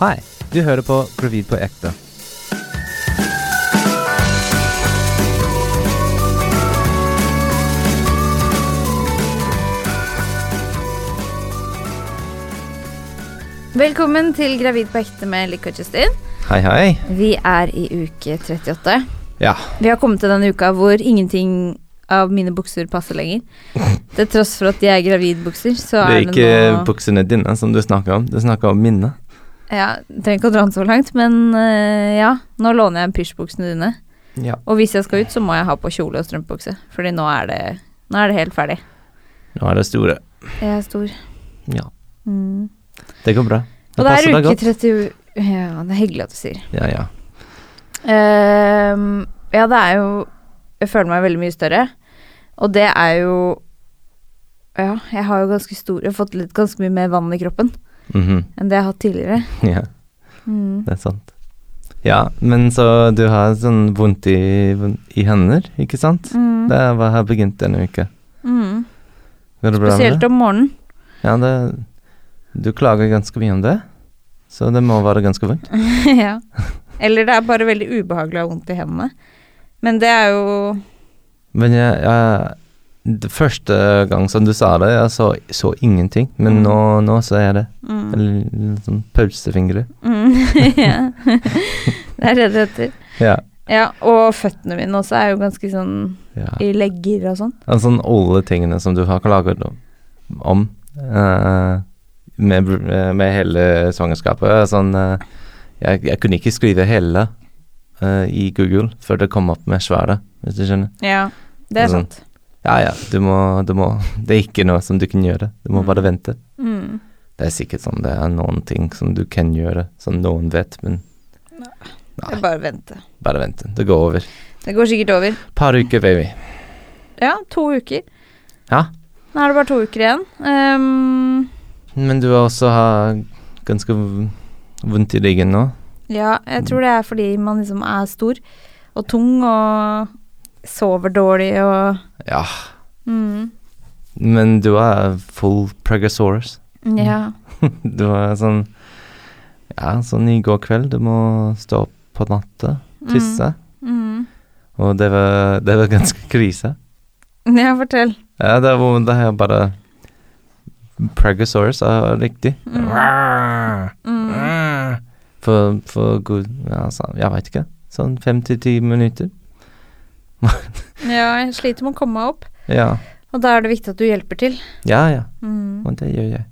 Hei, du hører på Gravid på ekte. Velkommen til Gravid på ekte med Lykke og Justin. Hei, hei. Vi er i uke 38. Ja. Vi har kommet til denne uka hvor ingenting av mine bukser passer lenger. Til tross for at de er gravidbukser, så Det er er det, ikke nå buksene dine som du snakker om, du snakker om minnet. Ja, Trenger ikke å dra den så langt, men eh, ja. Nå låner jeg pysjbuksene dine. Ja. Og hvis jeg skal ut, så må jeg ha på kjole og strømpebukse, Fordi nå er det, nå er det helt ferdig. Nå er det store. Jeg er stor. Ja. Mm. Det går bra. Og det passer er deg uke godt. 30 Ja, det er hyggelig at du sier. Ja, ja. Ehm, ja, det er jo Jeg føler meg veldig mye større. Og det er jo Ja, jeg har jo ganske stor Jeg har fått litt ganske mye mer vann i kroppen Mhm. enn det jeg har hatt tidligere. Mm. Ja, det er sant. Ja, men så du har sånn vondt i, i hender, ikke sant? Mm. Det var her begynt denne uke. Mm. Går det bra med Spesielt det? om morgenen. Ja, det, du klager ganske mye om det, så det må være ganske vondt. ja. Eller det er bare veldig ubehagelig å ha vondt i hendene. Men det er jo Men jeg, jeg det Første gang som du sa det, jeg så, så ingenting, men Mm. nå, nå ser jeg det. mm. Eller litt sånn pausefingre. Mm. ja. Det er det det heter. Ja. Ja, og føttene mine også er jo ganske sånn ja. i legger og sånn. Altså sånn alle tingene som du har klaget om- om eh, med, br- med hele svangerskapet. Sånn eh, jeg, jeg kunne ikke skrive hele eh, i Google før det kom opp med svaret, hvis du skjønner. Ja, det Og er sånn. sant. Ja ja, du må, du må Det er ikke noe som du kan gjøre. Du må Mm. bare vente. Mm. Det er sikkert sånn det er noen ting som du kan gjøre, som noen vet, men Det er bare å vente. bare vente. Det går over. Det går sikkert over. Par uker, baby. Ja, to uker. Ja. Nå er det bare to uker igjen. Ehm, Men du har også har ganske v- vondt i ryggen nå. ja, jeg tror det er fordi man liksom er stor og tung og sover dårlig og Ja. mm, Men du er full pregasaurus. Ja. Du er sånn Ja, sånn i går kveld. Du må stå opp på natta, Mm. tisse. Mm, Og det var, det var ganske krise. mm. Ja, fortell. Ja, det, var, det er bare Pregasaurus er riktig. Mm. For, for god ja, så, Jeg veit ikke. Sånn fem til ti minutter. Ja, jeg sliter med å komme meg opp, Ja. og da er det viktig at du hjelper til. Ja, ja. Mm. Og det gjør jeg.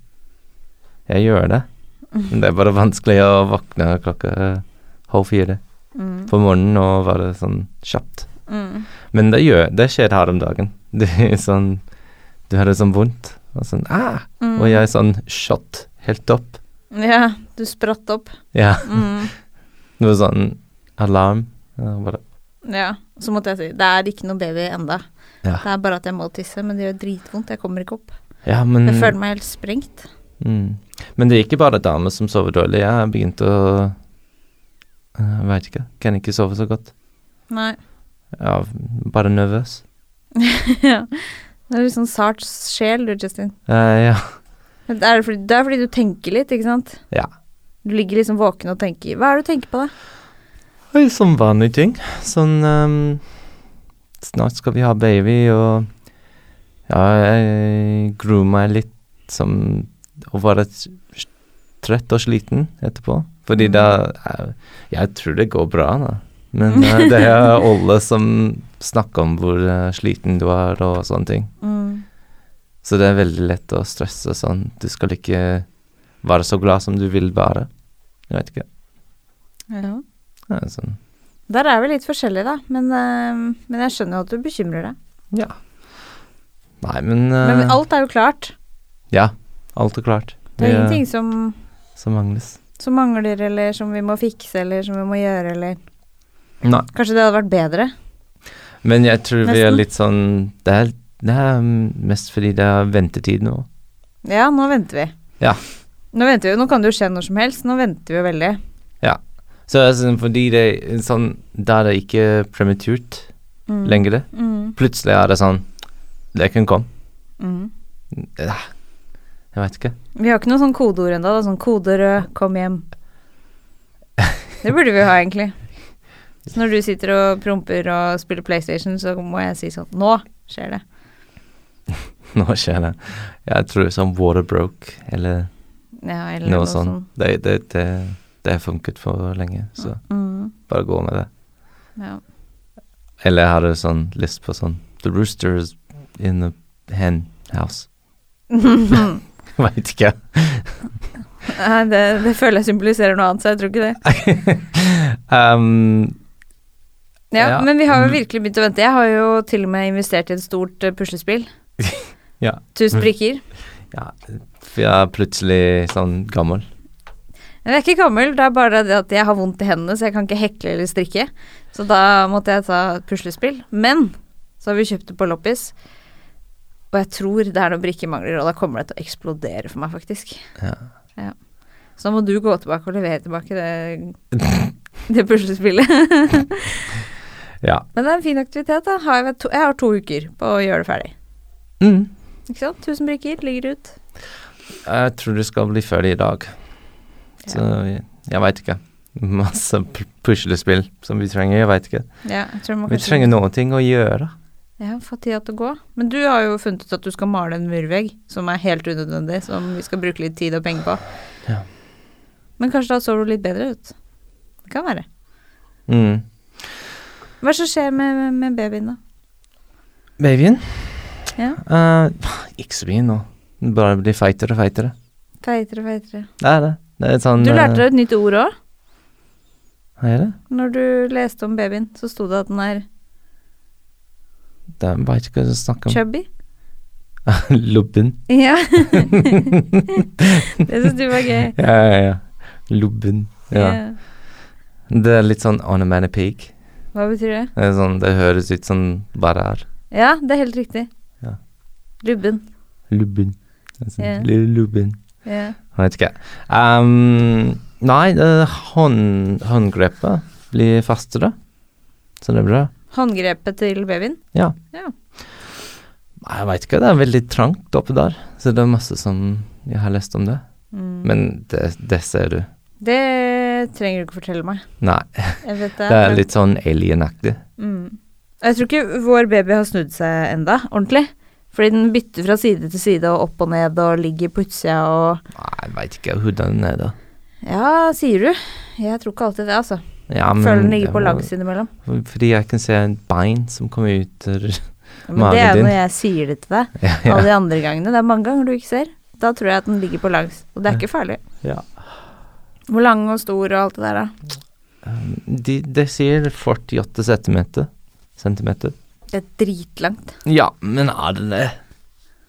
Jeg gjør det. Mm. Men det er bare vanskelig å våkne klokka eh, halv fire Mm. på morgenen og være sånn kjapt. Mm. Men det, gjør, det skjer her om dagen. Det er sånn Du har det sånn vondt. Og sånn ah! Mm. Og jeg er sånn shot helt opp. Ja, du spratt opp. Ja. Mm. Noe sånn alarm. Og bare Ja. Så måtte jeg si det er ikke noe baby enda. Ja. Det er bare at jeg må tisse, men det gjør dritvondt. Jeg kommer ikke opp. Ja, men Jeg føler meg helt sprengt. Mm. Men det er ikke bare damer som sover dårlig. Jeg har begynt å eh, Jeg veit ikke. Kan ikke sove så godt. Nei. Ja, bare nervøs. ja. Det er litt sånn sart sjel, du, Justin. Eh, ja. Men Det er fordi, det er fordi du tenker litt, ikke sant? Ja. Du ligger liksom våken og tenker. Hva er det du tenker på, da? Oi, Som vanlige ting. Sånn ehm, Snart skal vi ha baby, og ja, jeg gruer meg litt som å være s- s- trøtt og sliten etterpå. Fordi Mm. da eh, Jeg tror det går bra, da. Men eh, det er alle som snakker om hvor eh, sliten du er og sånne ting. Mm. Så det er veldig lett å stresse sånn. Du skal ikke være så glad som du vil være. Jeg vet ikke. Ja. Det er sånn. Der er vi litt forskjellige, da. Men, eh, men jeg skjønner jo at du bekymrer deg. Ja. Nei, men, Men eh, alt er jo klart. Ja, alt er klart. Det er Vi, eh, ingenting som, Som mangles. som mangler, eller som vi må fikse, eller som vi må gjøre, eller Nei. Kanskje det hadde vært bedre? Men jeg tror vi er Nesten. litt sånn det er, det er mm, mest fordi det er ventetid nå. Ja, nå venter vi. Ja. Nå venter vi, nå kan det jo skje når som helst. Nå venter vi jo veldig. Så det er sånn fordi det er sånn Da er det ikke prematurt Mm. lenger. Mm. Plutselig er det sånn Det kan komme. Mm. Eh, Jeg veit ikke. Vi har ikke noe sånn kodeord ennå. da, Sånn kode rød, kom hjem. Det burde vi jo ha, egentlig. Så når du sitter og promper og spiller PlayStation, så må jeg si sånn Nå skjer det. Nå skjer det. Jeg tror sånn water broke, eller Ja, eller sånn. noe sånt. Det, det, det, det har funket for lenge, så Mm, bare gå med det. ja. Eller jeg hadde sånn lyst på sånn The rooster is in the hen house. Veit ikke. Nei, det, det føler jeg symboliserer noe annet, så jeg tror ikke det. um, Ja, Ja. Men vi har jo Mm. virkelig begynt å vente. Jeg har jo til og med investert i et stort eh, puslespill. Ja. Tusen brikker. ja, for jeg er plutselig sånn gammel. Men jeg er ikke gammel, det er bare det at jeg har vondt i hendene, så jeg kan ikke hekle eller strikke. Så da måtte jeg ta et puslespill. Men så har vi kjøpt det på loppis, og jeg tror det er noen brikkemangler, og da kommer det til å eksplodere for meg, faktisk. Ja. Ja. Så da må du gå tilbake og levere tilbake det, det puslespillet. Ja. Men det er en fin aktivitet, da. Har jeg, vært to, jeg har to uker på å gjøre det ferdig. Mm. Ikke sant? 1000 brikker ligger ut. Jeg tror det skal bli ferdig i dag. Så jeg, jeg veit ikke. Masse p- puslespill som vi trenger. Jeg veit ikke. Ja, jeg tror man Vi kanskje- trenger noen ting å gjøre. Ja, få tida til å gå. Men du har jo funnet ut at du skal male en murvegg, som er helt unødvendig, som vi skal bruke litt tid og penger på. Ja. Men kanskje da så du litt bedre ut. Det kan være. Mm. Hva er det som skjer med, med babyen, da? Babyen? Ja. Eh, ikke så mye nå. Den Bare blir feitere og feitere. Feitere og feitere. Det er det. Det er sånn Du lærte eh, deg et nytt ord òg. Er det? Når du leste om babyen, så sto det at den er Det er bare ikke hva jeg snakker om. chubby. Lubben. Ja. det syns du var gøy. Ja, ja, ja. Lubben. Ja. Ja. Det er litt sånn on a man a pig. Hva betyr det? Det, er sånn, det høres ut som bare er Ja, det er helt riktig. Ja. Lubben. lubben. Det er Sånn, Ja. Lille lubben. Ja. Jeg vet ikke. Ehm, nei, det er hånd, håndgrepet blir fastere, så det er bra. Håndgrepet til babyen. Ja. Ja. Nei, Jeg veit ikke, det er veldig trangt oppe der, så det er masse som jeg har lest om det. Mm. Men det, det ser du. Det trenger du ikke fortelle meg. Nei, Jeg vet det. det er litt sånn alienaktig. mm. Jeg tror ikke vår baby har snudd seg enda, ordentlig. Fordi den bytter fra side til side og opp og ned og ligger på utsida og Nei, jeg veit ikke hvordan det er da. Ja, sier du. Jeg tror ikke alltid det, altså. Ja, men Føler den det ligger på var- langs innimellom. Fordi jeg kan se en bein som kommer ut der. Ja, Men Magen det er din. når jeg sier det til deg. ja, ja. Alle de andre gangene. Det er mange ganger du ikke ser. Da tror jeg at den ligger på langs. Og det er ikke farlig. Ja. Hvor lang og stor og alt det der, da. Um, De, de sier 48 centimeter. Centimeter. Det er dritlangt. Ja, men er det det?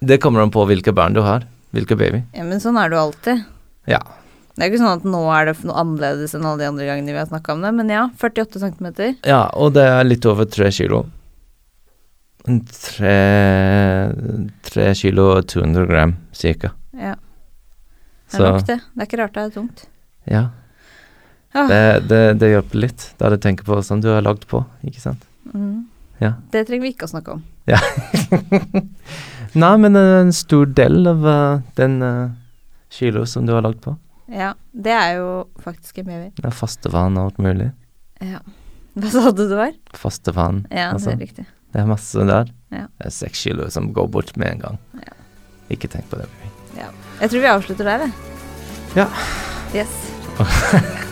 Det kommer an på hvilke barn du har. Hvilke baby. Ja, men sånn er det jo alltid. Ja. Det er ikke sånn at nå er det noe annerledes enn alle de andre gangene vi har snakka om det, men ja, 48 cm. Ja, og det er litt over tre kilo. En Tre, tre kilo og 200 gram, cirka. Ja, det er Så nok det. Det er ikke rart det er tungt. ja. Ja. Det, det, det hjelper litt, da du tenker på som du har lagd på, ikke sant. Mm. Ja. Det trenger vi ikke å snakke om. Nei, men det er en stor del av eh, den eh, kilo som du har lagd på. Ja, det er jo faktisk en baby. Det er fastevann og alt mulig. Ja. Hva sa du det var? Fastevann. Ja, det altså. er riktig. Det er masse der. Ja. Det er seks kilo som går bort med en gang. Ja. Ikke tenk på det. baby. Jeg tror vi avslutter der, jeg. Ja. Yes.